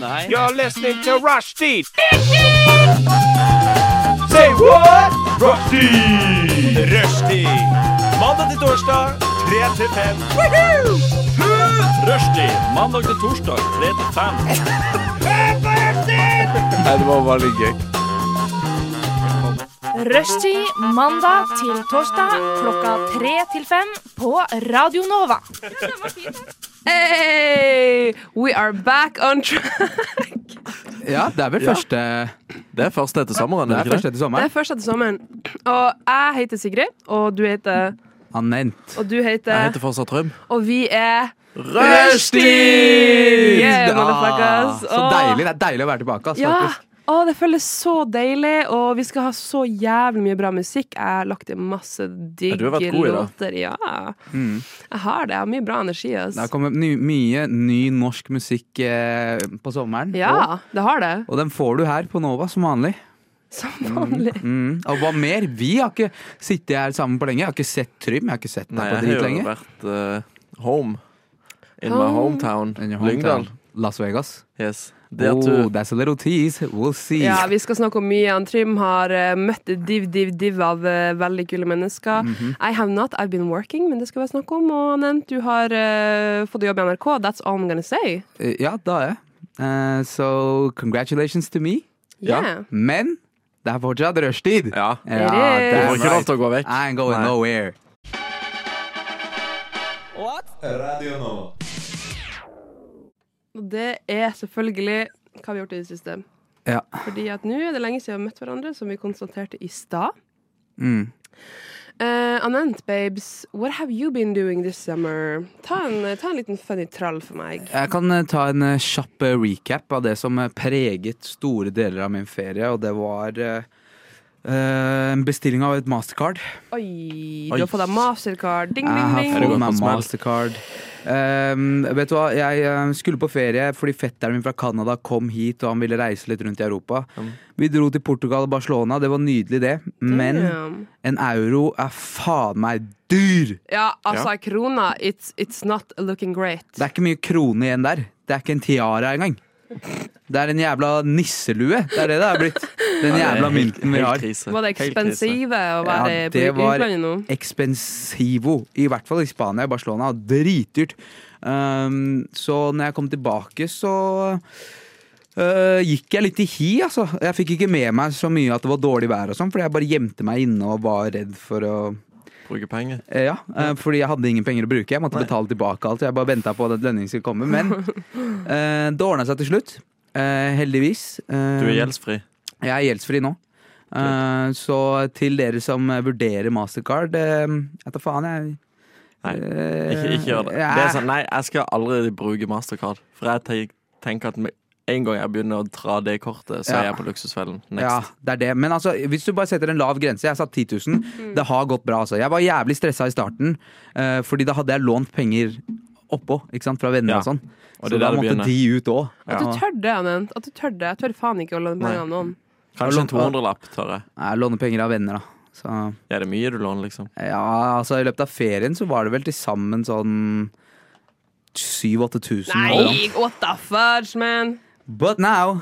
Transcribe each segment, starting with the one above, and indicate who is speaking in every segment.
Speaker 1: Nei.
Speaker 2: You're listening to Rushdie. Say what? Rushdie. Rushdie. Mandag til torsdag, 3 til 5. Rushdie. Mandag til torsdag, 3 til 5.
Speaker 1: Nei, det var veldig gøy.
Speaker 3: Rushtid mandag til torsdag klokka tre til fem på Radio Nova.
Speaker 4: Hey, we are back on track.
Speaker 1: Ja, det er vel første Det er første etter sommeren,
Speaker 5: Det
Speaker 1: er
Speaker 5: er
Speaker 1: det ikke
Speaker 5: først
Speaker 1: det?
Speaker 5: etter
Speaker 4: Det
Speaker 5: sommeren.
Speaker 4: er først etter sommeren. Og jeg heter Sigrid, og du heter
Speaker 5: Anent.
Speaker 4: Og du
Speaker 1: Jeg
Speaker 4: heter
Speaker 1: heter fortsatt Trym.
Speaker 4: Og vi er
Speaker 1: Rushtid!
Speaker 4: Yeah, motherfuckers.
Speaker 5: Ah, så
Speaker 4: Åh.
Speaker 5: deilig. Det er deilig å være tilbake. ass,
Speaker 4: Ja!
Speaker 5: faktisk.
Speaker 4: Å, det føles så deilig, og vi skal ha så jævlig mye bra musikk. Jeg har lagt inn masse digge
Speaker 1: du har vært god i dag.
Speaker 4: låter. Ja. Jeg har det. Jeg har mye bra energi. ass.
Speaker 5: Det har kommet ny, mye ny norsk musikk eh, på sommeren. Og,
Speaker 4: Ja, det har det.
Speaker 5: og den får du her på Nova, som vanlig.
Speaker 4: Som vanlig.
Speaker 5: Mm. Og hva mer? Vi har ikke sittet her sammen på lenge. Jeg har ikke sett Trym. Jeg har ikke sett deg
Speaker 1: Nei,
Speaker 5: på
Speaker 1: jeg
Speaker 5: drit
Speaker 1: har jo
Speaker 5: lenge.
Speaker 1: vært eh, home. In my hometown.
Speaker 5: In your
Speaker 1: Lyngdal.
Speaker 5: hometown, Las Vegas.
Speaker 1: Yes. Det at
Speaker 5: Oh,
Speaker 1: du
Speaker 5: that's a little tease. We'll see.
Speaker 4: Ja, vi skal snakke om mye. Han Trym har eh, møtt et div, div, div av eh, veldig kule mennesker.
Speaker 5: Mhm.
Speaker 4: I have not, I've been working, men det skal vi snakke om. Og Anent, du har eh, fått jobb i NRK. That's all I'm gonna say.
Speaker 5: Eh, ja da er jeg. Eh, so congratulations to me.
Speaker 1: Ja.
Speaker 4: Yeah.
Speaker 5: Men det er fortsatt rushtid.
Speaker 1: Ja.
Speaker 4: It
Speaker 5: Ja, det
Speaker 1: Du
Speaker 5: er
Speaker 1: får ikke lov
Speaker 5: right.
Speaker 1: til å gå vekk.
Speaker 5: I ain't going
Speaker 1: Nei.
Speaker 5: nowhere.
Speaker 4: Og det er selvfølgelig hva vi har gjort i det siste.
Speaker 5: Ja.
Speaker 4: Fordi at nå er det lenge siden vi har møtt hverandre, som vi konstaterte i stad.
Speaker 5: Mm.
Speaker 4: Eh, Anent, babes, what have you been doing this summer? Ta en, ta en liten funny trall for meg.
Speaker 5: Jeg kan eh, ta en eh, kjapp eh, recap av det som eh, preget store deler av min ferie, og det var eh, eh, en bestilling av et mastercard.
Speaker 4: Oi,
Speaker 1: Oi.
Speaker 4: du har fått deg mastercard. Ding,
Speaker 5: Jeg
Speaker 4: ding,
Speaker 5: har
Speaker 4: ding.
Speaker 1: Er
Speaker 5: fått
Speaker 1: det godt på
Speaker 5: meg
Speaker 1: smell?
Speaker 5: mastercard. Ehm, vet du hva, jeg eh, skulle på ferie fordi fetteren min fra Canada kom hit, og han ville reise litt rundt i Europa. Vi dro til Portugal og Barcelona, det var nydelig det, men
Speaker 4: Damn.
Speaker 5: en euro er faen meg dyr!
Speaker 4: Ja, altså, krona, it's, it's not looking great.
Speaker 5: Det er ikke mye krone igjen der. Det er ikke en tiara engang. Det er en jævla nisselue. Det er det det er blitt. Den
Speaker 1: Det er
Speaker 5: jævla
Speaker 1: helt-
Speaker 5: mynten vi
Speaker 1: helt
Speaker 5: har.
Speaker 1: krise.
Speaker 4: Var det
Speaker 1: Helt krise.
Speaker 4: ekspensive å være
Speaker 5: Ja,
Speaker 4: på
Speaker 5: det var
Speaker 4: utlandet nå?
Speaker 5: expensivo. I hvert fall i Spania og Barcelona. Dritdyrt. Um, så når jeg kom tilbake, så øh, gikk jeg litt i hi, altså. Jeg fikk ikke med meg så mye at det var dårlig vær og sånn, fordi jeg bare gjemte meg inne og var redd for å
Speaker 1: Bruke penger.
Speaker 5: Eh, Ja, eh, fordi jeg hadde ingen penger å bruke. Jeg måtte betale tilbake alt. Jeg bare venta på at lønningen skulle komme. Men eh, det ordna seg til slutt. Eh, heldigvis. Eh,
Speaker 1: Du er gjeldsfri.
Speaker 5: Jeg er gjeldsfri nå. Eh, så til dere som eh, vurderer Mastercard eh, Jeg tar faen, jeg.
Speaker 1: Nei,
Speaker 5: Eh,
Speaker 1: Ikke, ikke gjør det.
Speaker 5: ja.
Speaker 1: det er sånn, nei, jeg skal aldri bruke mastercard. For jeg tenk- tenker at med en gang jeg begynner å dra det kortet, så er
Speaker 5: Ja.
Speaker 1: jeg på luksusfellen.
Speaker 5: Ja,
Speaker 1: Next.
Speaker 5: det er det. Men altså, hvis du bare setter en lav grense Jeg satt 10 000.
Speaker 4: Mm.
Speaker 5: Det har gått bra, altså. Jeg var jævlig stressa i starten, eh, fordi da hadde jeg lånt penger oppå, ikke sant, fra venner
Speaker 1: Ja.
Speaker 5: og sånn. så
Speaker 1: Og det er
Speaker 5: da
Speaker 1: der det
Speaker 5: måtte
Speaker 1: begynner.
Speaker 5: de ut òg.
Speaker 4: At du tør det, Anent. At du tør det. Jeg tør faen ikke å låne penger av noen.
Speaker 1: Kanskje
Speaker 5: Jeg
Speaker 1: en
Speaker 5: lånte-
Speaker 1: 200-lapp, tør jeg.
Speaker 5: Jeg låner penger av venner, da. Så,
Speaker 1: Ja, det er mye du låner, liksom.
Speaker 5: ja, altså I løpet av ferien så var det vel til sammen sånn 7000-8000.
Speaker 4: Nei, what the fudge, man!
Speaker 5: But now,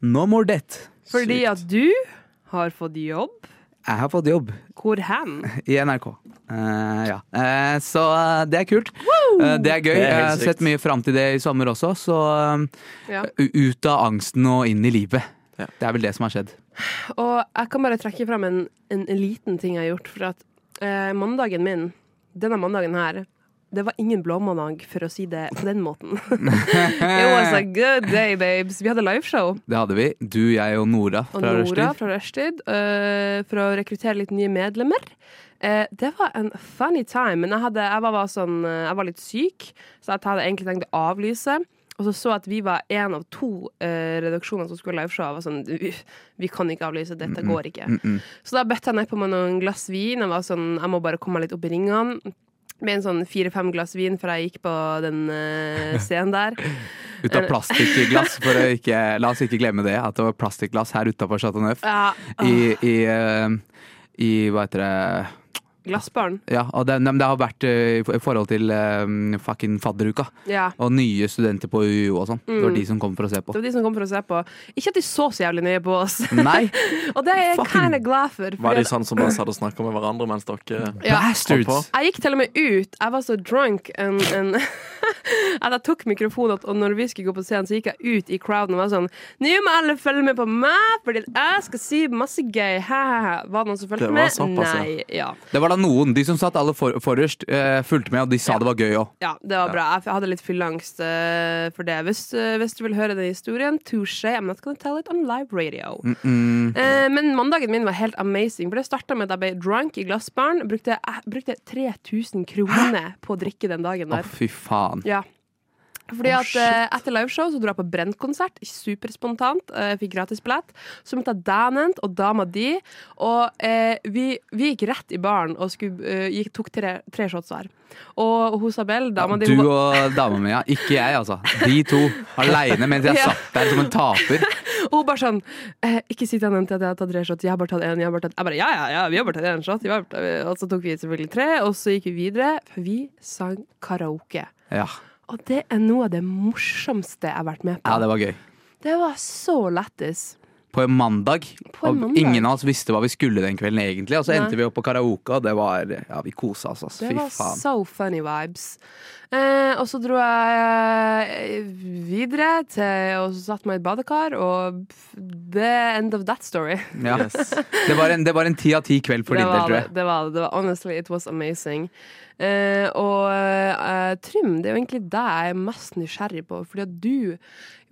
Speaker 5: no more debt.
Speaker 4: Fordi
Speaker 1: Sykt.
Speaker 4: at du har fått jobb.
Speaker 5: Jeg har fått jobb
Speaker 4: Hvor hen?
Speaker 5: i NRK. Eh, ja. Eh, så eh, det er kult. Eh, det er gøy.
Speaker 1: Det er helt
Speaker 5: Jeg har
Speaker 1: sykt.
Speaker 5: sett mye fram til det i sommer også, så
Speaker 4: Ja.
Speaker 5: eh, u- ut av angsten og inn i livet.
Speaker 1: Ja.
Speaker 5: Det er vel det som har skjedd.
Speaker 4: Og jeg kan bare trekke fram en, en, en liten ting jeg har gjort. For at eh, mandagen min, denne mandagen her, det var ingen blåmandag, for å si det på den måten. It was a good day, babes. Vi hadde liveshow.
Speaker 5: Det hadde vi. Du, jeg og Nora
Speaker 4: Og
Speaker 5: fra
Speaker 4: Nora
Speaker 5: Rushtid.
Speaker 4: fra Rushtid, øh, for å rekruttere litt nye medlemmer. Eh, det var en funny time, men jeg, hadde, jeg, var, var sånn, eh, jeg var litt syk, så jeg hadde egentlig tenkt å avlyse. Og så så jeg at vi var én av to eh, redaksjoner som skulle ha liveshow. Jeg var sånn, vi, vi kan ikke avlyse, dette går ikke. Så da bøtta jeg nedpå meg noen glass vin. Jeg var sånn, jeg må bare komme meg litt opp i ringene. Med en sånn fire-fem glass vin, for jeg gikk på den eh, scenen der.
Speaker 5: Ut av plastikkglass, for å ikke La oss ikke glemme det, at det var plastikkglass her utafor Chateau Neuf.
Speaker 4: Ja,
Speaker 5: I, i, eh, i hva heter det
Speaker 4: Glassbarn.
Speaker 5: Ja, og det, nei, men det har vært eh, i forhold til eh, fucking fadderuka.
Speaker 4: Ja.
Speaker 5: Og nye studenter på UiO og sånn. Det var de som kom for å se på.
Speaker 4: Det var de som kom for å se på. Ikke at de så så jævlig nøye på oss.
Speaker 5: Nei,
Speaker 4: Og det er jeg
Speaker 5: Fucking-
Speaker 4: kind of glad for.
Speaker 1: Var
Speaker 4: fordi
Speaker 1: de sånn som bare satt og snakka med hverandre mens dere
Speaker 4: Ja.
Speaker 5: bastards!
Speaker 1: Hopp
Speaker 4: Jeg gikk til og med ut. Jeg var så drunk. En, en at jeg tok mikrofonen, og når vi skulle gå på scenen, så gikk jeg ut i crowden og var sånn Nå må alle følge med på meg, fordi jeg skal si masse gøy. Hæ-hæ-hæ. Var det noen som
Speaker 1: Det
Speaker 4: fulgte
Speaker 1: var
Speaker 4: med?
Speaker 1: såpass, ja.
Speaker 4: Nei. Ja.
Speaker 5: Det var da noen. De som satt aller for, forrest, eh, fulgte med, og de sa det var gøy òg.
Speaker 4: ja, det var bra. Jeg hadde litt fyllangst eh, for det. Hvis, eh, hvis du vil høre den historien, touché. I'm not gonna tell it on live radio. Eh, men mandagen min var helt amazing, for det starta med at jeg ble drunk i glassbaren. Brukte, jeg brukte 3000 kroner på å drikke den dagen
Speaker 5: Å,
Speaker 4: der.
Speaker 5: fy faen.
Speaker 4: Ja. Fordi at eh, Etter liveshow så dro jeg på Brenntkonsert, superspontant. eh, Jeg fikk gratis billett. Så møtte jeg Danent og dama di, og eh, vi, vi gikk rett i baren og skulle, eh, gikk, tok tre, tre shots hver. Og hun Sabel, dama di
Speaker 5: Du
Speaker 4: hun, var-
Speaker 5: og dama mi, ja. Ikke jeg, altså. De to aleine mens jeg
Speaker 4: Ja.
Speaker 5: satt der som en taper.
Speaker 4: hun bare sånn eh, Ikke si til Danent at jeg har tatt tre shots, jeg har bare tatt én. Jeg, har bare tatt- jeg bare ja, ja, ja, vi har bare tatt én shot. vi har bare tatt- Og så tok vi selvfølgelig tre, og så gikk vi videre, for vi sang karaoke.
Speaker 5: Ja,
Speaker 4: Og det er noe av det morsomste jeg har vært med på.
Speaker 5: ja det var gøy.
Speaker 4: det var så lættis.
Speaker 5: På en mandag.
Speaker 4: På en
Speaker 5: Og
Speaker 4: mandag.
Speaker 5: ingen av oss visste hva vi skulle den kvelden egentlig. Og så
Speaker 4: Nei.
Speaker 5: endte vi opp på karaoke, og det var Ja, vi kosa oss,
Speaker 4: Det
Speaker 5: altså. Fy
Speaker 4: var
Speaker 5: faen.
Speaker 4: so funny vibes. Eh, og så dro jeg eh, videre til og så satt meg i et badekar, og pff, the end of that story.
Speaker 5: Ja. Det var en- det var en ti av ti kveld for
Speaker 4: det
Speaker 5: din del,
Speaker 4: var
Speaker 5: tror
Speaker 4: det.
Speaker 5: jeg.
Speaker 4: Det var, det. det var honestly, it was amazing. Eh, og eh, Trym, det er jo egentlig deg jeg er mest nysgjerrig på, fordi at du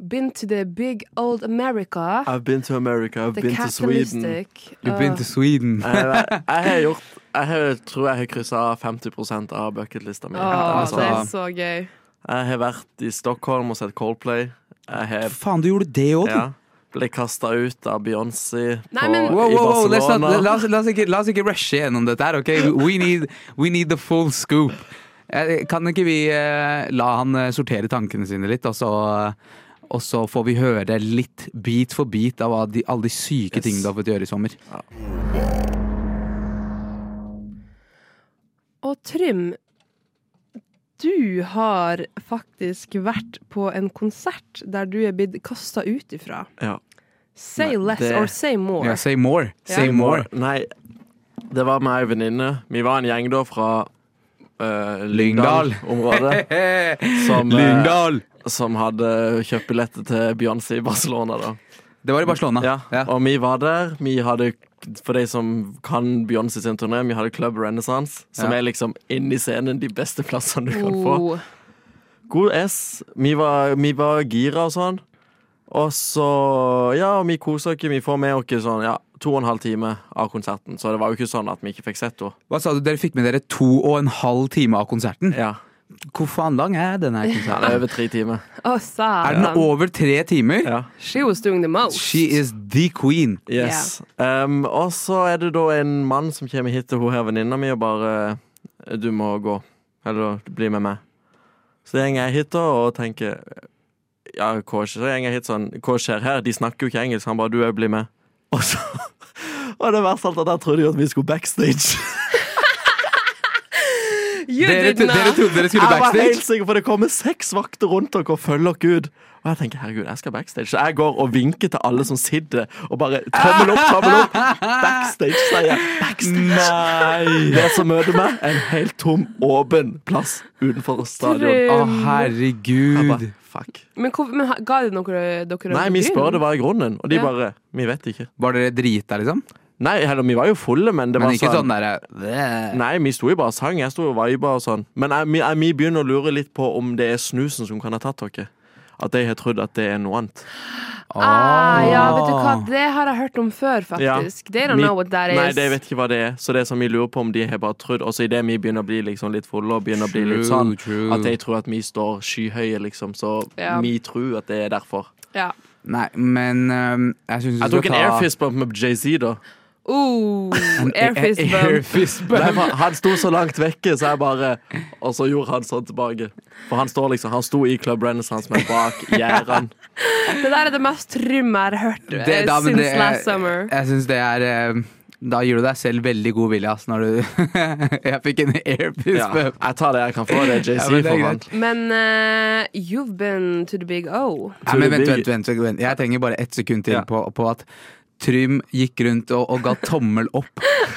Speaker 4: been to the big old America.
Speaker 1: I've been to America, I've
Speaker 4: The eh,
Speaker 1: been to Sweden.
Speaker 4: capitalistic.
Speaker 5: You've been to Sweden.
Speaker 1: Jeg, Eh, jeg, har gjort Jeg har- tror jeg har kryssa 50 av bucketlista mi.
Speaker 4: Åh, åh,
Speaker 1: altså,
Speaker 4: det er så gøy.
Speaker 1: jeg har vært i Stockholm og sett Coldplay. Jeg har
Speaker 5: Faen, du gjorde det òg, du.
Speaker 1: ja, ble kasta ut av Beyoncé
Speaker 4: Nei,
Speaker 1: på,
Speaker 4: men-
Speaker 5: Wow,
Speaker 1: i
Speaker 5: wow, wow, let's not,
Speaker 1: Barcelona.
Speaker 5: la, oss, la, oss ikke, la oss ikke rushe gjennom dette her, ok? We need, we need the full scoop. Eh, Kan ikke vi eh, la han eh, sortere tankene sine litt, og så, og så får vi høre litt bit for bit av hva de, alle de syke
Speaker 1: Yes.
Speaker 5: tingene du har fått gjøre i sommer?
Speaker 4: Og Trym, du har faktisk vært på en konsert der du er blitt kasta ut ifra.
Speaker 1: Ja.
Speaker 4: Say
Speaker 1: Nei,
Speaker 4: less
Speaker 1: det-
Speaker 4: or say more.
Speaker 5: Ja, say more. Say
Speaker 4: Ja.
Speaker 5: more.
Speaker 1: Nei, det var med ei venninne. Vi var en gjeng da fra uh,
Speaker 5: Lyngdal.
Speaker 1: Lyngdal-området. Som, eh,
Speaker 5: Lyngdal!
Speaker 1: som hadde kjøpt billetter til Beyoncé i Barcelona, da.
Speaker 5: Det var i Barcelona.
Speaker 1: Ja,
Speaker 5: Ja.
Speaker 1: Og vi var der. Vi hadde, for de som kan Beyoncé sin turné, vi hadde Club Renaissance, som
Speaker 5: Ja.
Speaker 1: er liksom inni scenen de beste plassene du kan få.
Speaker 4: Oh.
Speaker 1: God S. Vi var, vi var gira og sånn. Og så Ja, vi koser oss. Vi får med oss sånn ja, to og en halv time av konserten. Så det var jo ikke sånn at vi ikke fikk sett henne.
Speaker 5: Hva sa du? Dere fikk med dere to og en halv time av konserten?
Speaker 1: Ja.
Speaker 5: Hvor faen lang er denne her
Speaker 1: ja,
Speaker 5: konserten?
Speaker 1: det er over tre timer.
Speaker 4: Å,
Speaker 5: Er den
Speaker 4: satan.
Speaker 5: over tre timer?
Speaker 1: Ja.
Speaker 4: She was doing the most.
Speaker 5: She is the queen.
Speaker 1: Yes. Um, og så er det da en mann som kommer hit til hun her venninna mi og bare Du må gå. Eller bli med meg. Så jeg går jeg hit da og tenker Ja, hva skjer? Så jeg går hit sånn, hva skjer her? De snakker jo ikke engelsk. Han bare Du òg, bli med. Og så Og det verste av alt at jeg trodde jo at vi skulle backstage.
Speaker 4: You
Speaker 5: Dere,
Speaker 4: did
Speaker 5: tro- dere
Speaker 4: not.
Speaker 5: trodde dere skulle
Speaker 1: Jeg var
Speaker 5: backstage?
Speaker 1: helt sikker, for det kommer seks vakter rundt dere og følger dere ut. Og jeg tenker, herregud, jeg skal backstage. Så jeg går og vinker til alle som sitter, og bare tommel opp, tommel opp. Backstage, sier jeg. Backstage.
Speaker 5: Nei!
Speaker 1: Det som møter meg, er en helt tom, åpen plass utenfor stadion. Ah,
Speaker 5: Å,
Speaker 4: Trym.
Speaker 1: Jeg
Speaker 5: herregud.
Speaker 1: bare, fuck.
Speaker 4: Men, hvor, men ha- ga det dere, dere
Speaker 1: Nei, vi spør det var i grunnen, og de
Speaker 4: Ja.
Speaker 1: bare Vi vet ikke.
Speaker 5: Var dere drita, liksom?
Speaker 1: Nei, heller, vi var jo fulle, men det var
Speaker 5: Men ikke sånn
Speaker 1: sånn
Speaker 5: derre
Speaker 1: Nei, vi sto jo bare og sang. Jeg sto og viba og sånn. Men jeg, vi, jeg, vi begynner å lure litt på om det er snusen som kan ha tatt dere. At de har trodd at det er noe annet.
Speaker 4: Ah, ja, vet du hva, det har jeg hørt om før,
Speaker 1: Ja.
Speaker 4: faktisk. They don't
Speaker 1: Vi-
Speaker 4: know what that is.
Speaker 1: Nei, de vet ikke hva det er. Så det er som vi lurer på om de har bare trodd Og så idet vi begynner å bli liksom litt fulle og begynner å bli litt sånn
Speaker 5: True, true.
Speaker 1: at de tror at vi står skyhøye, liksom. Så
Speaker 4: Ja.
Speaker 1: vi tror at det er derfor.
Speaker 4: Ja.
Speaker 5: Nei, men øhm, jeg syns vi
Speaker 1: Jeg tok en
Speaker 5: ta-
Speaker 1: airfist bump med Jay-Z, da.
Speaker 4: Oh, air fist
Speaker 5: Eh, eh,
Speaker 4: bump.
Speaker 5: airfist bump.
Speaker 1: Nei, for han sto så langt vekke, så jeg bare Og så gjorde han sånn tilbake. For han står liksom Han sto i Club Renaissance, men bak gjerdene.
Speaker 4: Det der er det mest trym jeg har hørt eh,
Speaker 5: Det- da,
Speaker 4: since
Speaker 5: men det-
Speaker 1: eh,
Speaker 4: last summer.
Speaker 5: Jeg syns det er øhm, Da gir du deg selv veldig god vilje, ass, når du Jeg fikk en airpiece.
Speaker 1: Ja,
Speaker 5: Ja.
Speaker 1: jeg tar det jeg kan få. Det er JC
Speaker 5: Ja, men det er
Speaker 1: for
Speaker 5: greit.
Speaker 1: meg.
Speaker 4: Men eh, you've been to the big O.
Speaker 5: Nei, men vent, vent, vent, vent. Jeg trenger bare ett sekund til
Speaker 1: Ja.
Speaker 5: på, på at Trym gikk rundt og, og ga tommel opp.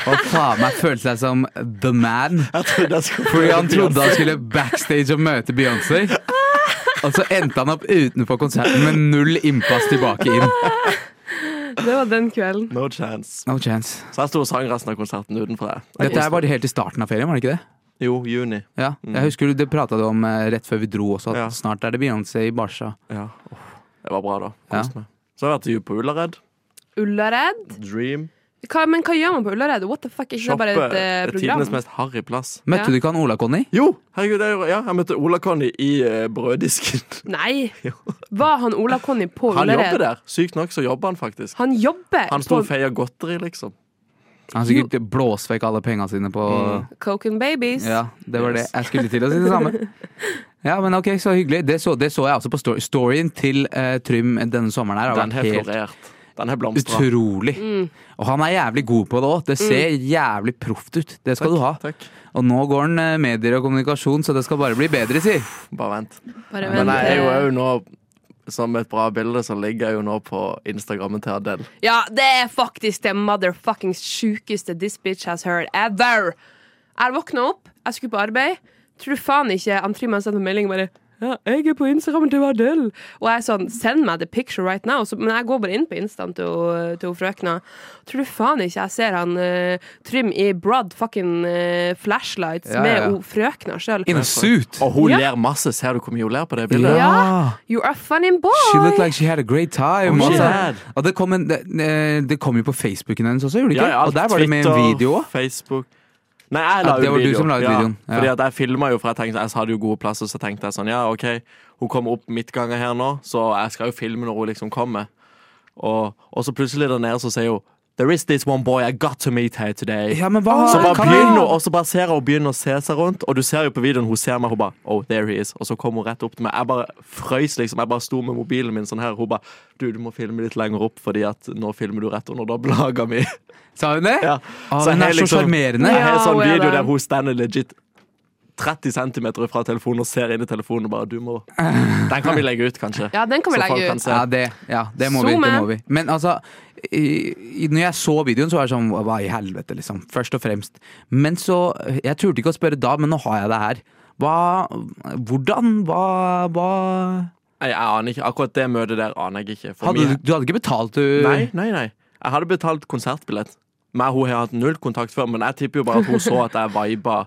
Speaker 5: Og faen meg følte seg som the man.
Speaker 1: Jeg trodde jeg skulle
Speaker 5: Fordi han trodde han skulle backstage og møte Beyoncé. Og så endte han opp utenfor konserten med null innpass tilbake inn.
Speaker 4: Det var den kvelden.
Speaker 1: No chance.
Speaker 5: No chance.
Speaker 1: Så jeg sto og sang resten av konserten utenfor. jeg. Jeg
Speaker 5: Dette her
Speaker 1: koste
Speaker 5: var helt i starten av ferien, var det ikke det?
Speaker 1: meg. Jo, juni.
Speaker 5: Ja, jeg husker Det prata du om eh, rett før vi dro også, at
Speaker 1: Ja.
Speaker 5: snart er det Beyoncé i Barca.
Speaker 1: Ja. Åh, det var bra, da.
Speaker 5: Ja.
Speaker 1: Koste meg. Så har jeg vært til jul på Ullared.
Speaker 4: Ullared.
Speaker 1: Dream.
Speaker 4: Hva, men hva gjør man på Ullared? What the fuck? Er ikke det
Speaker 1: Shoppe.
Speaker 4: bare et eh,
Speaker 1: Tidenes
Speaker 4: program?
Speaker 1: mest harry plass.
Speaker 5: Møtte
Speaker 4: Ja.
Speaker 5: du ikke han Ola-Conny?
Speaker 1: Jo! Herregud, jeg, gjorde- ja, jeg møtte Ola Conny i eh, brøddisken.
Speaker 4: Nei!
Speaker 1: Jo.
Speaker 4: Var han Ola Conny på
Speaker 1: Han jobber
Speaker 4: Ullared?
Speaker 1: der. Sykt nok så jobber han faktisk.
Speaker 4: Han jobber
Speaker 1: Han sto
Speaker 4: på
Speaker 1: og feia godteri, liksom.
Speaker 5: Han har sikkert blåsvekk alle penga sine på
Speaker 4: Coke and Babies.
Speaker 5: Ja, det var det. Jeg skulle til å si det samme. Ja, men ok, så hyggelig. Det så, det så jeg også på story. storyen til eh, Trym denne sommeren her. Har
Speaker 1: Den
Speaker 5: vært
Speaker 1: har
Speaker 5: helt
Speaker 1: florert. Den har blomstra.
Speaker 5: utrolig.
Speaker 1: Mm.
Speaker 5: Og han er jævlig god på det òg. Det ser jævlig proft ut. Det skal du ha.
Speaker 1: Takk.
Speaker 5: Og nå går han eh, medier og kommunikasjon, så det skal bare bli bedre, si.
Speaker 1: Bare vent.
Speaker 4: Bare
Speaker 1: Men jeg er jo
Speaker 4: eh,
Speaker 1: òg nå som et bra bilde, så ligger jeg jo nå på Instagrammen til Adele.
Speaker 4: Ja, det er faktisk det motherfuckings sjukeste this bitch has heard ever. Jeg våkna opp, jeg skulle på arbeid. Tror du faen ikke han Trym har sendt en melding og bare ja, jeg er på Instagram til Adele. Og jeg er sånn, send meg the picture right now. Så, men jeg går bare inn på Instaen til, hun- til hun frøkna. Tror du faen ikke jeg ser han eh, Trym i broad fucking eh, flashlights
Speaker 5: Ja, ja,
Speaker 4: med
Speaker 5: ja.
Speaker 4: hun frøkna sjøl?
Speaker 5: In a suit.
Speaker 1: Og hun
Speaker 4: Ja.
Speaker 1: ler masse. Ser du hvor mye hun ler på det bildet?
Speaker 4: Ja. You are a funny boy!
Speaker 5: She looked like she had a great time.
Speaker 1: Oh,
Speaker 5: Og
Speaker 1: she
Speaker 5: så-
Speaker 1: had.
Speaker 5: og det kom, en, det, eh, det kom jo på Facebooken hennes også, gjorde det ikke?
Speaker 1: Ja, ja,
Speaker 5: og der var det med en
Speaker 1: Twitter,
Speaker 5: video òg.
Speaker 1: Facebook. Nei, jeg la
Speaker 5: Ja, det
Speaker 1: ut
Speaker 5: var du
Speaker 1: video.
Speaker 5: som la ut
Speaker 1: ja,
Speaker 5: videoen. Ja.
Speaker 1: Fordi at jeg filma jo, for jeg tenkte jeg hadde jo gode plasser, så tenkte jeg sånn Ja, OK, hun kommer opp midtganger her nå, så jeg skal jo filme når hun liksom kommer. Og, og så plutselig der nede så sier hun There is this one boy I got to meet here today.
Speaker 5: Ja, men hva har
Speaker 1: Så bare
Speaker 5: hva-
Speaker 1: begynner hun, og så bare ser hun begynner å se seg rundt, og du ser jo på videoen hun ser meg, hun bare Oh, there he is. Og så kom hun rett opp til meg. Jeg bare frøys, liksom. Jeg bare sto med mobilen min sånn her. Hun bare Du, du må filme litt lenger opp, fordi at nå filmer du rett under dobbelthaga mi.
Speaker 5: Sa hun det?
Speaker 1: Ja.
Speaker 5: Å, hun Ah,
Speaker 1: jeg
Speaker 5: er
Speaker 1: har
Speaker 5: så sjarmerende.
Speaker 1: Jeg har en sånn
Speaker 4: Ja, hun er
Speaker 1: video
Speaker 4: det.
Speaker 1: der hun stander legit 30 cm fra telefonen og ser inn i telefonen og bare Du må Den kan vi legge ut, kanskje.
Speaker 4: Ja, den kan vi
Speaker 1: Så folk
Speaker 4: legge
Speaker 1: kan
Speaker 4: ut.
Speaker 1: se.
Speaker 5: Ja, det, ja, det, må, vi,
Speaker 4: Zoom
Speaker 5: det må
Speaker 4: in.
Speaker 5: vi. Men altså, i, i- når jeg så videoen, så var jeg sånn Hva i helvete, liksom. Først og fremst. Men så Jeg turte ikke å spørre da, men nå har jeg det her. Hva Hvordan? Hva, hva
Speaker 1: Nei, Jeg aner ikke. Akkurat det møtet der aner jeg ikke. For
Speaker 5: hadde,
Speaker 1: mye-
Speaker 5: du- Du hadde ikke betalt, du?
Speaker 1: Nei, nei, nei. Jeg hadde betalt konsertbillett. Meg og hun har hatt null kontakt før, men jeg tipper jo bare at hun så at jeg viba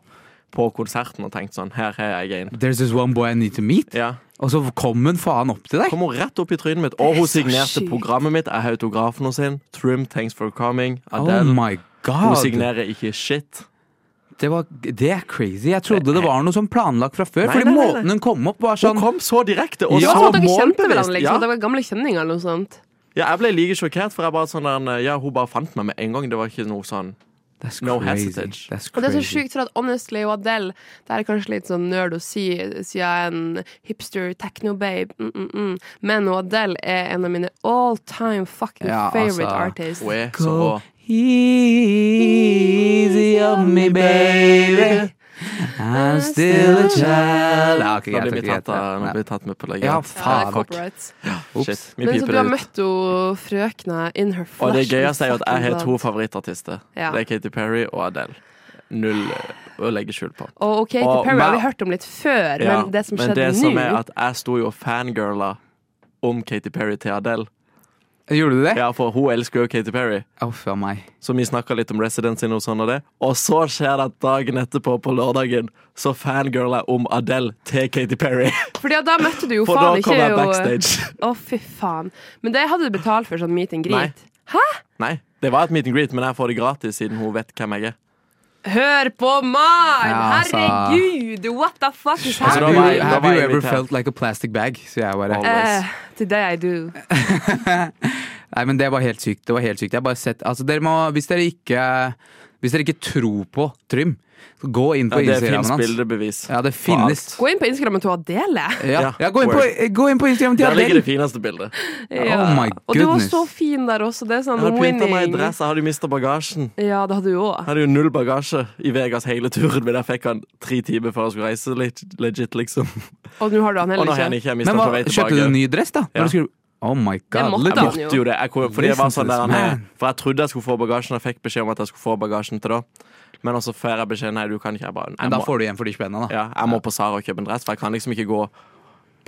Speaker 1: på konserten og tenkte sånn Her er jeg inn.
Speaker 5: There's this one boy I need to meet.
Speaker 1: Ja.
Speaker 5: Og så kom hun faen opp til deg.
Speaker 1: Kom hun rett opp i trynet mitt, og hun
Speaker 4: så
Speaker 1: signerte
Speaker 4: sjukt.
Speaker 1: programmet mitt. Jeg har autografen hos henne. Trim, thanks for coming.
Speaker 5: Oh
Speaker 1: Adele.
Speaker 5: my
Speaker 1: Hun
Speaker 5: god!
Speaker 1: signerer ikke shit.
Speaker 5: Det, var, det er crazy. Jeg trodde det var noe sånn planlagt fra før.
Speaker 1: Nei,
Speaker 5: fordi
Speaker 1: nei, nei, nei.
Speaker 5: måten hun kom opp, var
Speaker 1: Hun
Speaker 5: sånn
Speaker 1: kom så direkte og
Speaker 5: Ja,
Speaker 4: Jeg
Speaker 1: så
Speaker 4: trodde dere kjente hverandre,
Speaker 1: målbevisst.
Speaker 4: liksom.
Speaker 1: Ja.
Speaker 4: At dere var gamle kjenninger eller noe sånt.
Speaker 1: ja, jeg ble like sjokkert, for jeg bare sånn der, ja, hun bare fant meg med en gang. Det var ikke noe sånn
Speaker 5: That's
Speaker 1: No
Speaker 5: crazy.
Speaker 1: hesitage.
Speaker 5: That's
Speaker 4: Og det er så
Speaker 5: crazy.
Speaker 4: sjukt, for at honestly og Adele Det her er kanskje litt sånn nerd å si, siden jeg er en hipster techno-babe, mm, mm, mm. men og Adele er en av mine all time fucking
Speaker 5: Ja,
Speaker 4: favorite
Speaker 5: altså.
Speaker 4: artists.
Speaker 1: Hun er så rå.
Speaker 5: Go easy on me, baby. I'm still a child Ja, ok,
Speaker 1: Nå
Speaker 5: greit,
Speaker 1: blir vi
Speaker 5: greit,
Speaker 1: tatt, av- nå
Speaker 5: greit.
Speaker 1: blir vi tatt med på legget.
Speaker 5: Ja,
Speaker 4: Ja, det er
Speaker 5: faen.
Speaker 4: corporate.
Speaker 5: Ops.
Speaker 1: Shit, vi
Speaker 4: Men så
Speaker 1: piper
Speaker 4: du har
Speaker 1: det ut.
Speaker 4: møtt jo frøkna in her flesh.
Speaker 1: Og det gøyeste er jo at jeg
Speaker 4: fucking
Speaker 1: har to
Speaker 4: blood.
Speaker 1: favorittartister.
Speaker 4: Ja.
Speaker 1: Det er Katy Perry og Adele. Null eh, å legge skjul på.
Speaker 4: Og ok, Katy
Speaker 1: Og
Speaker 4: Perry har vi
Speaker 1: meg-
Speaker 4: hørt om litt før,
Speaker 1: Ja,
Speaker 4: men det som
Speaker 1: men det
Speaker 4: skjedde
Speaker 1: som er
Speaker 4: nå
Speaker 1: at jeg sto jo og fangirla om Katy Perry til Adele.
Speaker 5: Gjorde du det?
Speaker 1: Ja, for hun elsker jo Katy Perry.
Speaker 5: Å, faen meg.
Speaker 1: Så vi snakka litt om Residence Inn og sånn og det. Og så skjer det at dagen etterpå, på lørdagen, så fangirler jeg om Adele til Katy Perry.
Speaker 4: Fordi at da møtte du jo
Speaker 1: For
Speaker 4: faen
Speaker 1: da
Speaker 4: ikke
Speaker 1: kom jeg
Speaker 4: jo eh,
Speaker 1: backstage.
Speaker 4: Å, fy faen. Men det hadde du betalt for, sånn meet and
Speaker 1: Nei.
Speaker 4: greet.
Speaker 1: Nei, det var et meet and greet, men jeg får det gratis siden hun vet hvem jeg er.
Speaker 4: Hør på meg!
Speaker 5: Ja, altså.
Speaker 4: Herregud! What the fuck is
Speaker 1: Altså,
Speaker 5: Have
Speaker 1: da
Speaker 5: you,
Speaker 1: var
Speaker 4: happening?
Speaker 1: jeg- da
Speaker 5: have
Speaker 1: var
Speaker 5: you
Speaker 1: jeg
Speaker 5: ever
Speaker 1: invitert.
Speaker 5: felt like a plastic bag? Så jeg bare
Speaker 1: Always.
Speaker 4: Eh, today I do.
Speaker 5: Nei, men det var helt sykt. Det var helt sykt. Jeg har bare sett, altså dere må, hvis dere ikke Hvis dere ikke tror på Trym, så gå inn på
Speaker 1: Ja, det
Speaker 5: Instagramen
Speaker 1: fins
Speaker 5: hans.
Speaker 1: bildebevis.
Speaker 5: Ja, det finnes.
Speaker 1: På alt.
Speaker 4: Gå inn på Instagrammen til å dele.
Speaker 5: Ja,
Speaker 1: Ja,
Speaker 5: ja gå, inn på, gå inn på Instagram til
Speaker 1: Der ligger
Speaker 5: Adele!
Speaker 1: det fineste bildet.
Speaker 5: Oh my
Speaker 4: Og du var
Speaker 5: goodness.
Speaker 4: så fin der også. Det er sånn
Speaker 1: Jeg hadde pynta meg i
Speaker 4: winning.
Speaker 1: dress, jeg hadde mista bagasjen.
Speaker 4: Ja, det hadde du
Speaker 1: Jeg
Speaker 4: òg.
Speaker 1: hadde jo null bagasje i Vegas hele turen, men jeg fikk han tre timer før jeg skulle reise. Litt, legit, liksom.
Speaker 4: Og nå har du han
Speaker 1: Og nå har
Speaker 4: heller
Speaker 1: han
Speaker 4: ikke.
Speaker 1: ikke jeg
Speaker 5: Men
Speaker 1: mistet han
Speaker 5: hva,
Speaker 1: på vei
Speaker 5: kjøpte
Speaker 1: tilbake.
Speaker 5: du en ny dress, da? Når
Speaker 1: Ja.
Speaker 5: du skulle, oh my god.
Speaker 4: måtte
Speaker 5: look
Speaker 1: Jeg
Speaker 4: han.
Speaker 5: at-
Speaker 1: måtte jo det. Jeg kom, fordi jeg var sånn der, nei, For jeg trodde jeg skulle få bagasjen, og jeg fikk beskjed om at jeg skulle få bagasjen til da. Men også får jeg beskjed nei, du kan ikke. Jeg bare
Speaker 5: Men
Speaker 1: jeg
Speaker 5: da
Speaker 1: må,
Speaker 5: får du igjen for de spenna, da.
Speaker 1: ja, jeg må på Sara og kjøpe en dress, for jeg kan liksom ikke gå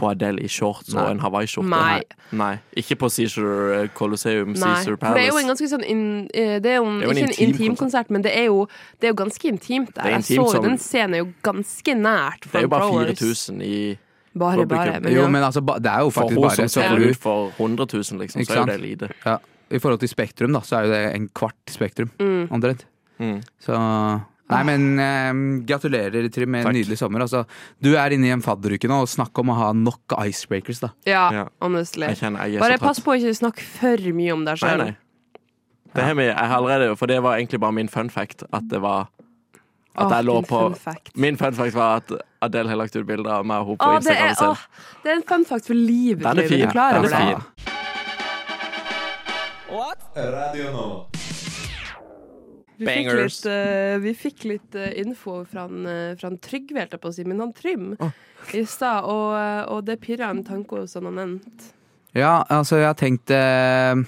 Speaker 1: på Adele i shorts og en hawaiiskjorte.
Speaker 4: Nei.
Speaker 1: Nei. Ikke på Seashore Colosseum,
Speaker 4: Nei,
Speaker 1: Caesar
Speaker 4: for det er jo en
Speaker 1: Palace.
Speaker 4: ganske sånn in, eh, Det er jo, en,
Speaker 1: Det er jo en
Speaker 4: ikke en
Speaker 1: intim
Speaker 4: intim konsert, men det er jo, det er jo ganske intimt der.
Speaker 1: Det er
Speaker 4: Jeg
Speaker 1: intimt
Speaker 4: så jo
Speaker 1: som-
Speaker 4: den scenen er jo ganske nært.
Speaker 1: Det er jo bare
Speaker 4: Front Rowers.
Speaker 1: 4000 i
Speaker 4: Bare, bare.
Speaker 1: publikum.
Speaker 4: Men,
Speaker 5: Jo,
Speaker 4: ja.
Speaker 5: men altså, ba- det er jo
Speaker 1: For
Speaker 5: faktisk
Speaker 1: hun
Speaker 5: bare
Speaker 1: som
Speaker 5: så får
Speaker 1: selger
Speaker 5: du,
Speaker 1: ut for 100 000, liksom,
Speaker 5: Ikke
Speaker 1: så er jo
Speaker 5: sant?
Speaker 1: det lite.
Speaker 5: ja, I forhold til Spektrum, da, så er jo det en kvart Spektrum, omtrent.
Speaker 1: Mm.
Speaker 5: Så Nei, men eh, gratulerer, Trym, med en
Speaker 1: Takk.
Speaker 5: nydelig sommer. Altså, du er inne i en fadderuke nå, og snakk om å ha nok icebreakers, da.
Speaker 4: ja,
Speaker 1: Ja.
Speaker 4: honestly.
Speaker 1: Jeg kjenner jeg er
Speaker 4: Bare
Speaker 1: så trøtt.
Speaker 4: pass på å ikke snakke for mye om deg
Speaker 1: Nei,
Speaker 4: sjøl.
Speaker 1: nei. Det har vi, jeg har allerede, for det var egentlig bare min fun fact. At det var At jeg lå på Min fun fact var at Adele har lagt ut bilder av meg og hun på
Speaker 4: Å, det, er,
Speaker 1: Instagram sin.
Speaker 4: åh, det er en fun fact for livet.
Speaker 1: Den er
Speaker 4: Trym.
Speaker 1: fin.
Speaker 4: Du klarer
Speaker 1: Den
Speaker 4: over
Speaker 1: er
Speaker 4: det.
Speaker 1: fin.
Speaker 2: Radio Nova.
Speaker 4: Vi fikk
Speaker 1: Bangers.
Speaker 4: litt, eh, vi fikk litt eh, info fra, han, eh, fra han Trygve, holdt jeg på å si, men han Trym i stad. Og, eh, og det pirra en tanke hos han nevnt.
Speaker 5: Ja, altså jeg har tenkt eh,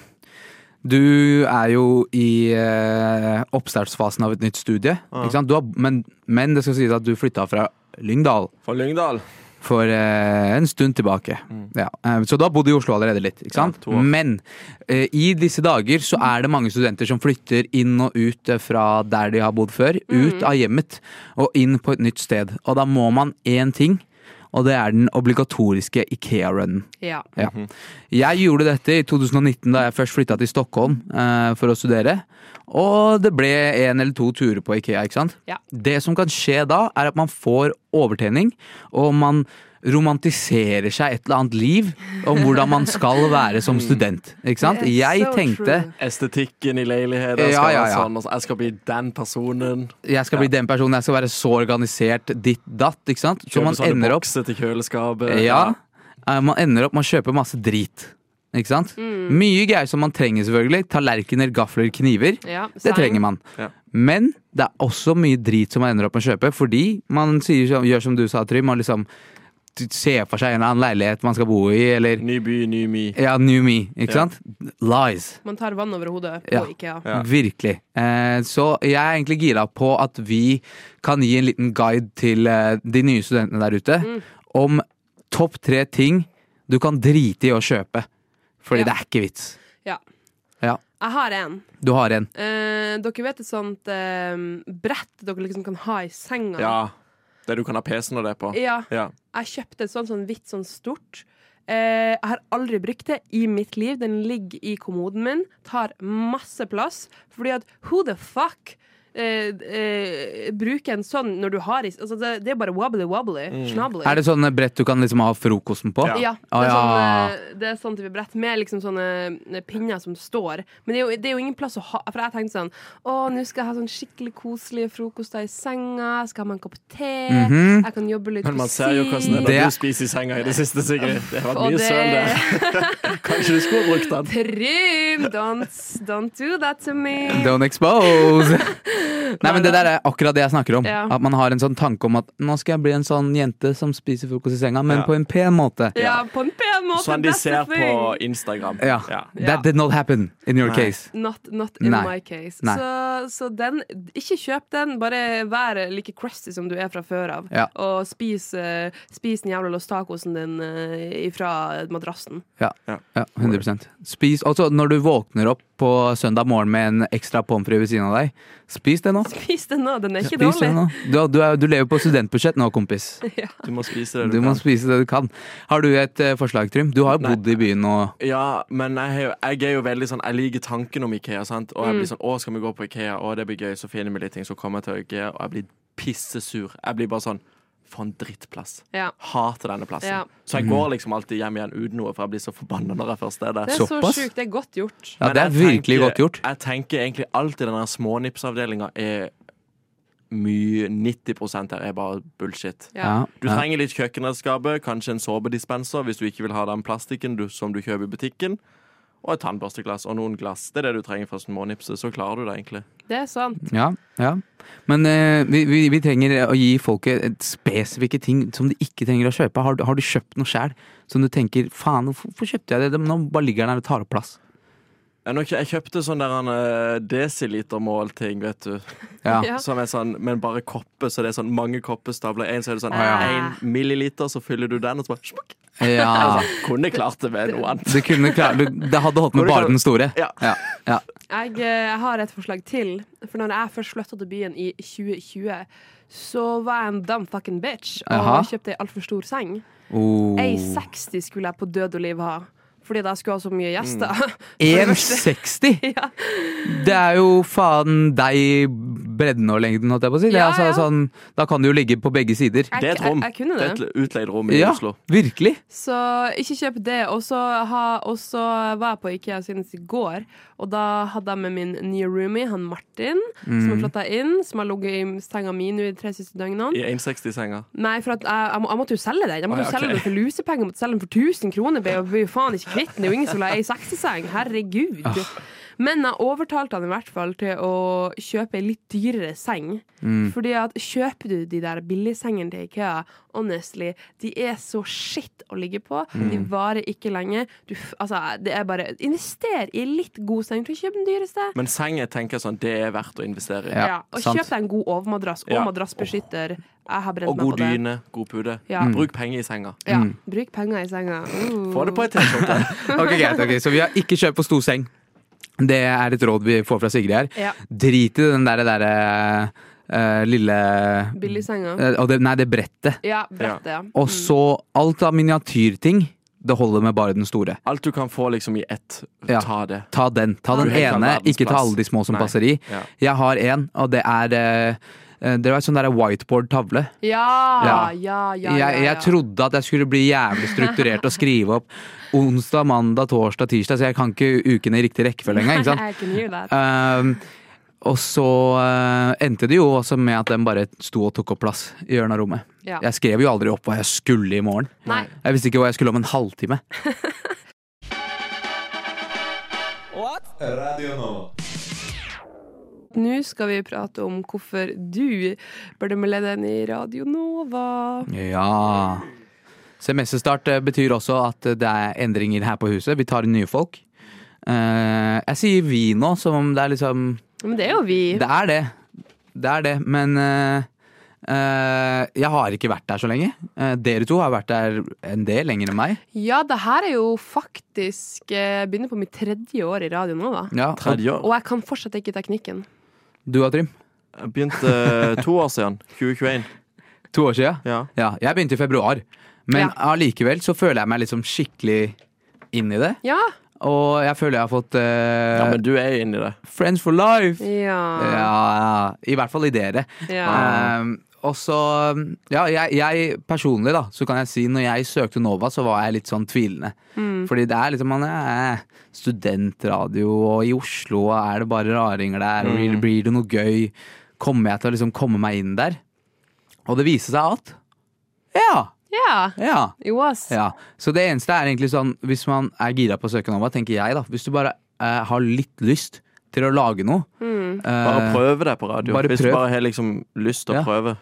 Speaker 5: Du er jo i eh, oppstartsfasen av et nytt studie. Ikke sant? Du har, men, men det skal sies at du flytta fra Lyngdal
Speaker 1: For Lyngdal.
Speaker 5: for eh, en stund tilbake. Ja, eh, så du har bodd i Oslo allerede litt. Ikke sant?
Speaker 1: Mm. to år.
Speaker 5: men eh, i disse dager så er det mange studenter som flytter inn og ut eh, fra der de har bodd før. Ut av hjemmet og inn på et nytt sted. Og da må man én ting, og det er den obligatoriske Ikea-runnen.
Speaker 4: Ja.
Speaker 5: Ja. Jeg gjorde dette i 2019 da jeg først flytta til Stockholm eh, for å studere. Og det ble en eller to turer på Ikea. ikke sant?
Speaker 4: Ja.
Speaker 5: Det som kan skje da, er at man får overtenning, og man romantiserer seg et eller annet liv om hvordan man skal være som student. ikke sant?
Speaker 4: Det er
Speaker 5: Jeg
Speaker 4: so
Speaker 5: tenkte
Speaker 4: true.
Speaker 1: Estetikken i leiligheten.
Speaker 5: Ja,
Speaker 1: Jeg skal,
Speaker 5: ja,
Speaker 1: være
Speaker 5: ja.
Speaker 1: Sånn, og så- jeg skal bli den personen.
Speaker 5: jeg skal bli den personen, jeg skal være så organisert, ditt datt. ikke sant? Så
Speaker 1: Kjøpe
Speaker 5: man
Speaker 1: sånne
Speaker 5: ender opp
Speaker 1: bokser til kjøleskapet.
Speaker 5: Ja. Eh, Man ender opp med å kjøpe masse drit. Ikke sant? Mye greier som man trenger, selvfølgelig. Tallerkener, gafler, kniver.
Speaker 4: Ja,
Speaker 5: Det trenger man.
Speaker 1: Ja.
Speaker 5: Men det er også mye drit som man ender opp med å kjøpe, fordi man sier, som- gjør som du sa, Trym, man liksom ser for seg en eller annen leilighet man skal bo i, eller
Speaker 1: Ny by, ny my.
Speaker 5: Ja, new me, ikke
Speaker 1: Ja.
Speaker 5: sant? Lies.
Speaker 4: Man tar vann over hodet på
Speaker 5: Ja.
Speaker 4: IKEA.
Speaker 1: Ja.
Speaker 5: Virkelig. Eh, så jeg er egentlig gira på at vi kan gi en liten guide til eh, de nye studentene der ute om topp tre ting du kan drite i å kjøpe.
Speaker 4: Ja.
Speaker 5: Fordi det er ikke vits.
Speaker 4: Ja.
Speaker 5: Ja.
Speaker 4: Jeg har en.
Speaker 5: Du har en.
Speaker 4: Eh, dere vet et sånt eh, brett dere liksom kan ha i senga?
Speaker 1: Ja. Det du kan ha PC-en og det på.
Speaker 4: Ja.
Speaker 1: Ja.
Speaker 4: Jeg kjøpte et sånt sånn hvitt, sånn stort. Eh, jeg har aldri brukt det i mitt liv. Den ligger i kommoden min, tar masse plass. Fordi at who the fuck eh, eh, bruker en sånn når du har i altså det, det er bare wobbly-wobbly. Snabbly.
Speaker 5: Mm. Er det sånne brett du kan liksom ha frokosten på?
Speaker 1: Ja.
Speaker 4: Ja, det
Speaker 5: Å,
Speaker 4: er,
Speaker 5: ja.
Speaker 4: sånn, eh, det er sånn type brett med liksom sånne eh, pinner som står. Men det er jo, det er jo ingen plass å ha For jeg tenkte sånn Å, nå skal jeg ha sånn skikkelig koselige frokoster i senga. Jeg skal ha meg en kopp te.
Speaker 5: Mhm.
Speaker 4: Jeg kan jobbe litt
Speaker 1: Men man ser jo hvordan det er
Speaker 5: Det-
Speaker 1: når du spiser i senga i det siste, Sigrid. Det har vært
Speaker 4: Og
Speaker 1: mye
Speaker 4: det-
Speaker 1: søl der. Kanskje du skulle brukt den.
Speaker 4: Trym! Don't, don't do that to me.
Speaker 5: Don't expose! Nei, men det der er akkurat det jeg snakker om.
Speaker 4: Ja.
Speaker 5: At man har en sånn tanke om at nå skal jeg bli en sånn jente som spiser frokost i senga, men
Speaker 1: Ja.
Speaker 5: på en pen måte.
Speaker 4: Ja, på en pen måte.
Speaker 1: Sånn de
Speaker 4: that's the
Speaker 1: ser på
Speaker 4: thing.
Speaker 1: Instagram.
Speaker 5: Ja.
Speaker 4: Ja.
Speaker 5: That did not happen in your
Speaker 1: Nei.
Speaker 5: case.
Speaker 4: Not, not in
Speaker 5: Nei.
Speaker 4: my case.
Speaker 5: Nei.
Speaker 4: Så, så den Ikke kjøp den, bare vær like crusty som du er fra før av.
Speaker 5: Ja.
Speaker 4: Og spis, eh, spis den jævla Los Tacosen din eh, ifra madrassen.
Speaker 5: Ja,
Speaker 1: Ja.
Speaker 5: ja 100 Spis også når du våkner opp på søndag morgen med en ekstra pommes frites ved siden av deg. Spis det nå.
Speaker 4: Spis den nå, den er ikke
Speaker 5: Spis det
Speaker 4: dårlig.
Speaker 5: nå. Du, du, er, du lever på studentbudsjett nå, kompis.
Speaker 1: Du må spise det
Speaker 5: Du må spise det du kan. Har du et eh, forslag, Trym? Du har jo
Speaker 1: Nei.
Speaker 5: bodd i byen nå.
Speaker 1: Ja, men jeg, har jo- jeg er jo veldig sånn Jeg liker tanken om Ikea, sant? Og jeg blir
Speaker 4: Mm.
Speaker 1: sånn Å, skal vi gå på Ikea? Å, det blir gøy. Så finner vi litt ting, så kommer jeg til Ikea, og jeg blir pissesur. Jeg blir bare sånn For en drittplass.
Speaker 4: Ja.
Speaker 1: Hater denne plassen.
Speaker 4: Ja.
Speaker 1: Så jeg går liksom alltid hjem igjen uten noe, for jeg blir så forbanna når jeg først er der.
Speaker 4: Det er
Speaker 5: Såpass?
Speaker 4: så sjukt. Det er godt gjort.
Speaker 5: Ja,
Speaker 1: Men
Speaker 5: det er
Speaker 1: jeg
Speaker 5: virkelig
Speaker 1: tenker-
Speaker 5: godt gjort.
Speaker 1: Jeg tenker egentlig alltid den smånipsavdelinga er mye 90 her er bare bullshit.
Speaker 4: Ja.
Speaker 1: Du trenger litt kjøkkenredskaper, kanskje en såpedispenser hvis du ikke vil ha den plastikken du, som du kjøper i butikken, og et tannbørsteglass og noen glass. Det er det du trenger for smånipset. Så klarer du det egentlig.
Speaker 4: Det er sant.
Speaker 5: Ja, ja. Men eh, vi, vi, vi trenger å gi folket et spesifikke ting som de ikke trenger å kjøpe. Har, du- har du kjøpt noe sjæl som du tenker faen, hvorfor, hvorfor kjøpte jeg det? Nå bare ligger den her og tar opp plass.
Speaker 1: Jeg, nå kjø- jeg kjøpte sånn der en eh, desilitermålting, vet du.
Speaker 5: Ja.
Speaker 4: Ja.
Speaker 1: Som er sånn, men bare kopper, så det er sånn mange koppestavler. En så er det sånn
Speaker 4: Ah,
Speaker 1: én
Speaker 4: ja.
Speaker 1: milliliter, så fyller du den, og så bare smukk.
Speaker 5: ja.
Speaker 1: Kunne klart det med noe annet.
Speaker 5: Du kunne klart, du, det hadde holdt med
Speaker 1: Kunne
Speaker 5: bare
Speaker 1: klart-
Speaker 5: den store.
Speaker 1: Ja.
Speaker 5: Ja, ja.
Speaker 4: Jeg, eh, jeg har et forslag til. For når jeg først flytta til byen i 2020, så var jeg en dumb fucking bitch og
Speaker 5: Jaha.
Speaker 4: kjøpte ei altfor stor seng.
Speaker 5: Oh.
Speaker 4: Ei 60 skulle jeg på død og liv ha. Fordi da skulle jeg ha så mye gjester.
Speaker 1: Mm.
Speaker 4: For det første-
Speaker 5: 1,60!
Speaker 4: Ja.
Speaker 5: Det er jo faen deg bredden og lengden, holdt jeg på å si. Det er
Speaker 4: Ja,
Speaker 5: altså
Speaker 4: ja.
Speaker 5: sånn, da kan du jo ligge på begge sider.
Speaker 4: Jeg-
Speaker 1: Det er et rom.
Speaker 4: Jeg, jeg kunne
Speaker 1: Det
Speaker 4: det.
Speaker 1: er et utleid rom i
Speaker 5: Ja,
Speaker 1: Oslo.
Speaker 5: virkelig.
Speaker 4: Så ikke kjøp det. Og så, ha, og så var jeg på Ikea senest i går, og da hadde jeg med min nye roomie, han Martin,
Speaker 1: Mm.
Speaker 4: som har flytta inn, som har ligget i senga mi nå i de tre siste døgnene.
Speaker 1: I 160-senga.
Speaker 4: Nei, for at jeg, jeg, må, jeg måtte jo selge den. Jeg måtte
Speaker 1: Å, ja,
Speaker 4: jo selge
Speaker 1: ok.
Speaker 4: den for lusepenger, jeg måtte selge den for 1000 kroner. Jeg ble jo- ble jo faen ikke kvitt den. Det er jo ingen som vil ha ei 60-seng. Herregud.
Speaker 1: Ah.
Speaker 4: Men jeg overtalte han i hvert fall til å kjøpe ei litt dyrere seng.
Speaker 1: Mm.
Speaker 4: Fordi at kjøper du de der billigsengene til Ikea, honestly, de er så shit å ligge på.
Speaker 1: Mm.
Speaker 4: De varer ikke lenge. Du, f- altså, det er bare Invester i litt god seng. Du kjøp den dyreste.
Speaker 1: Men seng jeg tenker sånn, det er verdt å investere i.
Speaker 5: Ja,
Speaker 4: Ja, og
Speaker 5: sant.
Speaker 4: kjøp deg en god overmadrass og
Speaker 1: Ja.
Speaker 4: madrassbeskytter. Jeg har brent
Speaker 1: Og
Speaker 4: meg på
Speaker 1: god
Speaker 4: det.
Speaker 1: dyne, god pude.
Speaker 4: Ja.
Speaker 5: Mm.
Speaker 1: Bruk penger i senga.
Speaker 4: Ja, Bruk penger i senga. Uh.
Speaker 1: Få det på et T-skjorte.
Speaker 5: Ok, greit, ok, Så vi har ikke kjøpt på stor seng. Det er et råd vi får fra Sigrid her.
Speaker 4: Ja.
Speaker 5: Drit i den derre der, eh, lille
Speaker 4: Billigsenga.
Speaker 5: eh, og det, Nei, det brettet.
Speaker 4: Ja, brettet, ja.
Speaker 5: Og så alt av miniatyrting. Det holder med bare den store.
Speaker 1: Alt du kan få liksom i ett,
Speaker 5: Ja.
Speaker 1: ta det.
Speaker 5: Ta den. Ta den
Speaker 1: Du kan
Speaker 5: ene,
Speaker 1: verdens
Speaker 5: ikke ta
Speaker 1: plass.
Speaker 5: alle de små som
Speaker 1: Nei.
Speaker 5: passer i.
Speaker 1: Ja.
Speaker 5: Jeg har en, og det er eh, eh, Det var en sånn der whiteboard-tavle.
Speaker 4: Ja,
Speaker 5: Ja.
Speaker 4: ja, ja. ja, ja.
Speaker 5: Jeg, jeg trodde at jeg skulle bli jævlig strukturert og skrive opp onsdag, mandag, torsdag, tirsdag, så jeg kan ikke ukene i riktig rekkefølge engang. ikke sant?
Speaker 4: I can hear that.
Speaker 5: Ehm, og så eh, endte det jo også med at den bare sto og tok opp plass i hjørnet av rommet.
Speaker 4: Ja.
Speaker 5: Jeg skrev jo aldri opp hva jeg skulle i morgen.
Speaker 4: Nei.
Speaker 5: Jeg visste ikke hva jeg skulle om en halvtime.
Speaker 4: Nå skal vi prate om hvorfor du burde melde deg inn i Radio Nova.
Speaker 5: Ja. Semesterstart eh, betyr også at eh, det er endringer her på huset. Vi tar inn nye folk. Eh, jeg sier vi nå, som om det er liksom
Speaker 4: Men det er jo vi.
Speaker 5: Det er det. Det er det. Men eh, eh, jeg har ikke vært der så lenge. Eh, dere to har vært der en del lenger enn meg.
Speaker 4: Ja, det her er jo faktisk eh, Begynner på mitt tredje år i Radio Nova.
Speaker 5: Ja, og
Speaker 1: Tredje år.
Speaker 4: Og jeg kan fortsatt ikke teknikken.
Speaker 5: du da, Trym?
Speaker 1: Jeg begynte eh, to år siden. 2021.
Speaker 5: To år siden?
Speaker 1: Ja.
Speaker 5: Ja, jeg begynte i februar. Men
Speaker 4: Ja.
Speaker 5: allikevel så føler jeg meg liksom skikkelig inn i det.
Speaker 4: Ja.
Speaker 5: Og jeg føler jeg har fått eh,
Speaker 1: ja, men du er jo inni det.
Speaker 5: Friends for life!
Speaker 4: Ja.
Speaker 5: Ja, ja. I hvert fall i dere.
Speaker 4: ja.
Speaker 5: Um, og så Ja, jeg, jeg personlig, da, så kan jeg si når jeg søkte Nova, så var jeg litt sånn tvilende.
Speaker 4: Mm.
Speaker 5: Fordi det er liksom Man er studentradio, og i Oslo er det bare raringer der. og
Speaker 4: Mm.
Speaker 5: Blir, blir det noe gøy? Kommer jeg til å liksom komme meg inn der? Og det viste seg at Ja!
Speaker 4: ja.
Speaker 5: Ja!
Speaker 4: Jo, ass.
Speaker 5: Ja, Så det eneste er egentlig sånn, hvis man er gira på å søke Nova, tenker jeg, da. Hvis du bare eh, har litt lyst til å lage noe.
Speaker 1: Bare
Speaker 5: eh,
Speaker 1: prøve deg på radio.
Speaker 5: bare
Speaker 1: Hvis du
Speaker 5: prøv.
Speaker 1: bare har liksom lyst til å
Speaker 5: Ja.
Speaker 1: prøve.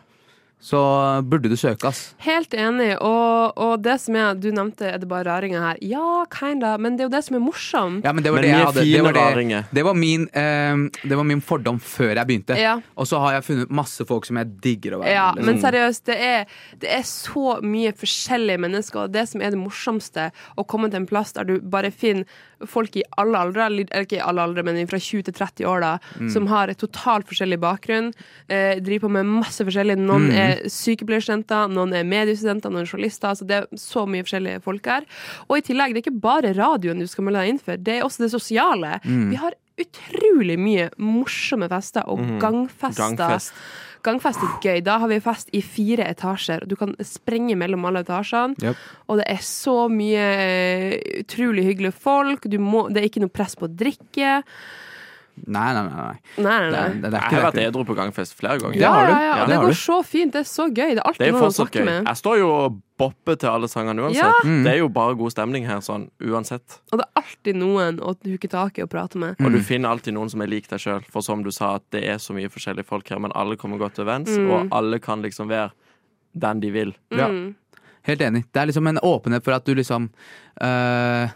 Speaker 5: så burde du søke, ass.
Speaker 4: Helt enig. Og, og det som er, du nevnte, er det bare raringer her? Ja, kinda. Men det er jo det som er morsomt.
Speaker 5: Ja, men det var
Speaker 1: Men
Speaker 5: det
Speaker 1: vi
Speaker 5: jeg
Speaker 1: er
Speaker 5: hadde. Det
Speaker 1: fine
Speaker 5: var, det,
Speaker 1: raringer.
Speaker 5: det, var min, eh, det var min fordom før jeg begynte.
Speaker 4: Ja.
Speaker 5: Og så har jeg funnet masse folk som jeg digger å være
Speaker 4: Ja,
Speaker 5: med. liksom.
Speaker 4: men seriøst, det er, det er så mye forskjellige mennesker, og det som er det morsomste, å komme til en plass der du bare finner folk i alle aldre, eller eller ikke i alle aldre, men fra 20 til 30 år, da, som har totalt forskjellig bakgrunn, eh, driver på med masse forskjellig. Noen er er sykepleierstudenter, noen er mediestudenter, noen er journalister. Altså det er så mye forskjellige folk her. Og i tillegg, det er ikke bare radioen du skal melde deg inn for, det er også det sosiale. Vi har utrolig mye morsomme fester og gangfester.
Speaker 1: Gangfest.
Speaker 4: Gangfest er gøy. Da har vi fest i fire etasjer. og Du kan sprenge mellom alle etasjene.
Speaker 5: Japp.
Speaker 4: Og det er så mye eh, utrolig hyggelige folk. Du må, det er ikke noe press på å drikke.
Speaker 5: Nei, nei, nei. nei.
Speaker 4: Nei,
Speaker 5: Det,
Speaker 4: nei, nei.
Speaker 5: er- det, er ikke-
Speaker 1: Jeg har
Speaker 5: det
Speaker 1: vært
Speaker 5: er ikke-
Speaker 1: edru på gangfest flere ganger.
Speaker 5: Ja,
Speaker 4: Ja,
Speaker 5: har du.
Speaker 4: ja, ja.
Speaker 1: Ja,
Speaker 4: Og det
Speaker 5: har du.
Speaker 4: går så fint. Det er så gøy. Det er
Speaker 1: Det er
Speaker 4: alltid
Speaker 1: jo
Speaker 4: noen å
Speaker 1: fortsatt
Speaker 4: snakke
Speaker 1: gøy.
Speaker 4: med.
Speaker 1: Jeg står jo og bopper til alle sangene uansett.
Speaker 4: Ja.
Speaker 5: Mm.
Speaker 1: Det er jo bare god stemning her, sånn uansett.
Speaker 4: Og det er alltid noen å huke tak i og prate med.
Speaker 1: Og du finner alltid noen som er lik deg sjøl, for som du sa, at det er så mye forskjellige folk her, men alle kommer godt overens,
Speaker 4: Mm.
Speaker 1: og alle kan liksom være den de vil.
Speaker 5: Ja.
Speaker 4: Mm.
Speaker 5: Helt enig. Det er liksom en åpenhet for at du liksom eh,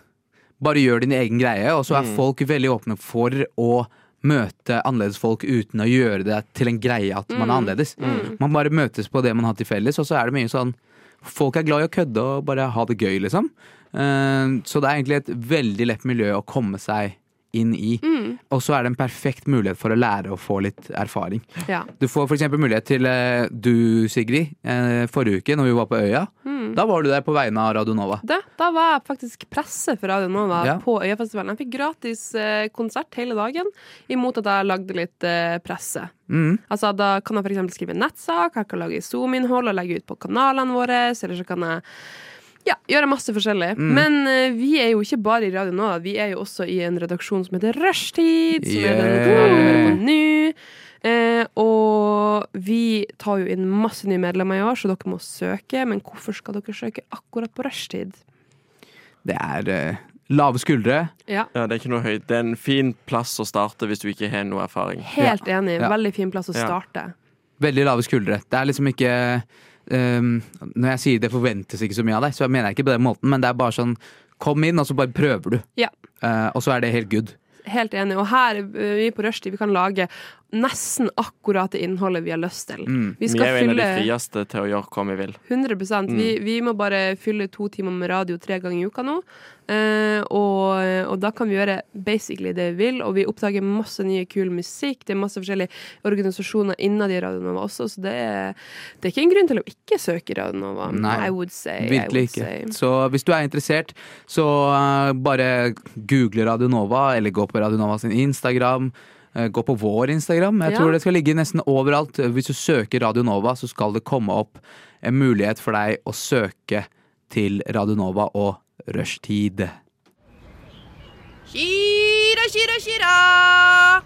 Speaker 5: bare gjør din egen greie, og så er folk veldig åpne for å møte annerledes folk uten å gjøre det til en greie at man er annerledes. Man bare møtes på det man har til felles, og så er det mye sånn Folk er glad i å kødde og bare ha det gøy, liksom. Eh, så det er egentlig et veldig lett miljø å komme seg inn i.
Speaker 4: mm.
Speaker 5: Og så er det en perfekt mulighet for å lære og få litt erfaring.
Speaker 4: Ja.
Speaker 5: Du får f.eks. mulighet til eh, du, Sigrid, eh, forrige uke når vi var på Øya. Da var du der på vegne av Radio Nova.
Speaker 4: Det, da var jeg faktisk presse for Radio Nova
Speaker 5: Ja.
Speaker 4: på Øyafestivalen. Jeg fikk gratis eh, konsert hele dagen, imot at jeg lagde litt eh, presse.
Speaker 5: Mm.
Speaker 4: Altså, da kan jeg f.eks. skrive en nettsak, jeg kan lage Zoom-innhold og legge ut på kanalene våre. Eller så kan jeg ja, gjøre masse forskjellig.
Speaker 5: Mm.
Speaker 4: Men eh, vi er jo ikke bare i Radio Nova, vi er jo også i en redaksjon som heter Rushtid. Som er den
Speaker 5: Yeah.
Speaker 4: redaksjonen vi hører på nå. Eh, og vi tar jo inn masse nye medlemmer i år, så dere må søke. Men hvorfor skal dere søke akkurat på rushtid?
Speaker 5: Det er eh, lave skuldre.
Speaker 4: Ja,
Speaker 1: Ja, det er ikke noe høyt. Det er en fin plass å starte hvis du ikke har noe erfaring.
Speaker 4: helt enig.
Speaker 5: Ja.
Speaker 4: Veldig fin plass å
Speaker 1: Ja.
Speaker 4: starte.
Speaker 5: Veldig lave skuldre. Det er liksom ikke ehm, Når jeg sier det forventes ikke så mye av deg, så mener jeg ikke på den måten, men det er bare sånn Kom inn, og så bare prøver du.
Speaker 4: Ja.
Speaker 5: Eh, og så er det helt good.
Speaker 4: Helt enig. Og her eh, vi på rushtid vi kan lage nesten akkurat det innholdet vi har lyst til. Vi
Speaker 1: Vi Mm. er
Speaker 4: skal
Speaker 1: jo en av
Speaker 4: fylle
Speaker 1: de Mm. frieste til å gjøre hva vi vil.
Speaker 4: 100 vi, vi må bare fylle to timer med radio tre ganger i uka nå. Eh, og, og da kan vi gjøre basically det vi vil, og vi oppdager masse nye kul musikk. Det er masse forskjellige organisasjoner innad i Radio Nova også, så det er, det er ikke en grunn til å ikke søke Radio Nova.
Speaker 5: Nei,
Speaker 4: I would say. I
Speaker 5: Virkelig
Speaker 4: would
Speaker 5: ikke.
Speaker 4: say.
Speaker 5: Så hvis du er interessert, så eh, bare google Radio Nova, eller gå på Radio Nova sin Instagram. eh, Gå på vår Instagram. Jeg
Speaker 4: Ja.
Speaker 5: tror det skal ligge nesten overalt. Hvis du søker Radio Nova, så skal det komme opp en mulighet for deg å søke til Radio Nova og rushtid.
Speaker 6: Shira, shira, shira.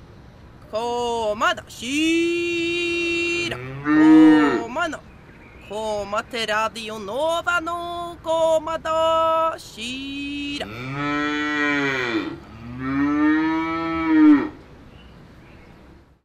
Speaker 6: Koma da, shira. Koma nå. Koma til Radio Nova nå. Koma da, shira.